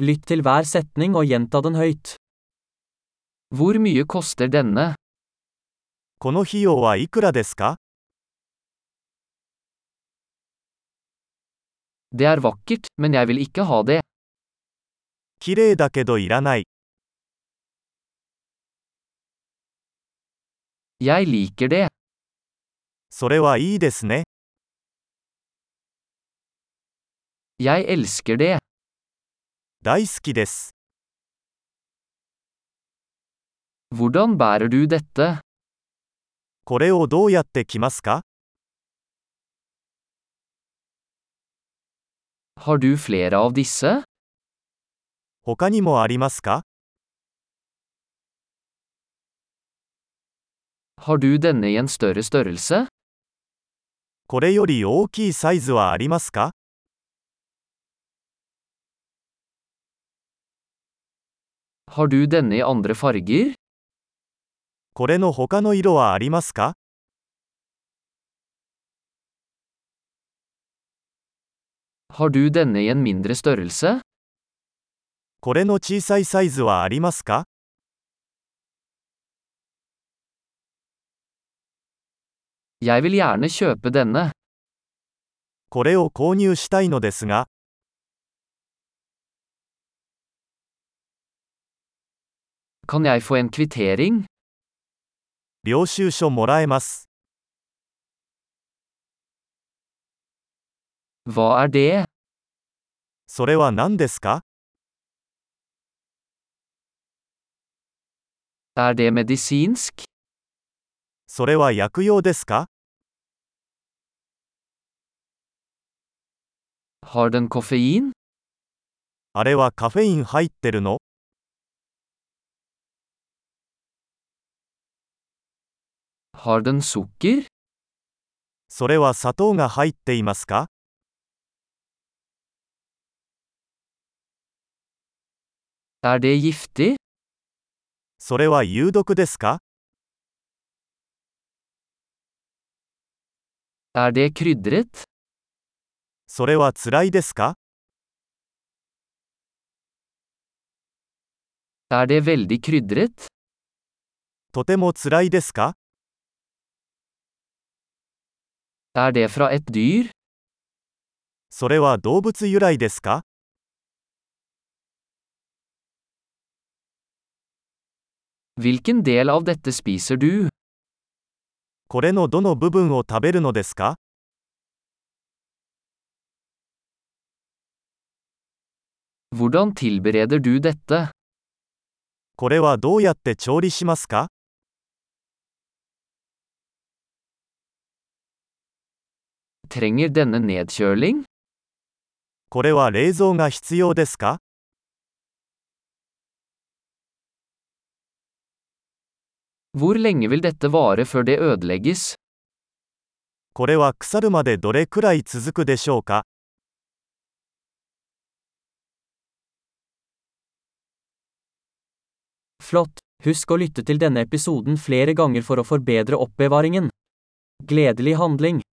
Lytt til hver setning og gjenta den høyt. Hvor mye koster denne? この費用はいくらですか Det er vakkert, men jeg vil ikke ha det. 綺麗だけどいらない。 Jeg liker det. それはいいですね。 Jeg elsker det. 大好きです。 Hvordan bærer du dette? これをどうやって着ますか Har du flere av disse? 他にもありますか Har du denne i en større størrelse? これより大きいサイズはありますか Har du denne i andre farger? これの他の色はありますか Har du denne i en mindre størrelse? これの小さいサイズはありますか Jeg vil gjerne kjøpe denne. これを購入したいのですが、 Kan jeg få en kvittering? 領収書もらえます。 Hva er det? それは何ですか Er det medisinsk? それは薬用ですか Har den koffein? あれはカフェイン入ってるの Har den sukker? それは砂糖が入っていますか Er det giftig? それは有毒ですか Er det krydret? それは辛いですか Er det veldig krydret? とても辛いですか Er det fra et dyr? それは動物由来ですか Hvilken del av dette spiser du? これのどの部分を食べるのですか Hvordan tilbereder du dette? これはどうやって調理しますか Trenger denne nedkjøling? これは冷蔵が必要ですか Hvor lenge vil dette vare før det ødelegges? これは腐るまでどれくらい続くでしょうか Flott! Husk å lytte til denne episoden flere ganger for å forbedre oppbevaringen. Gledelig handling!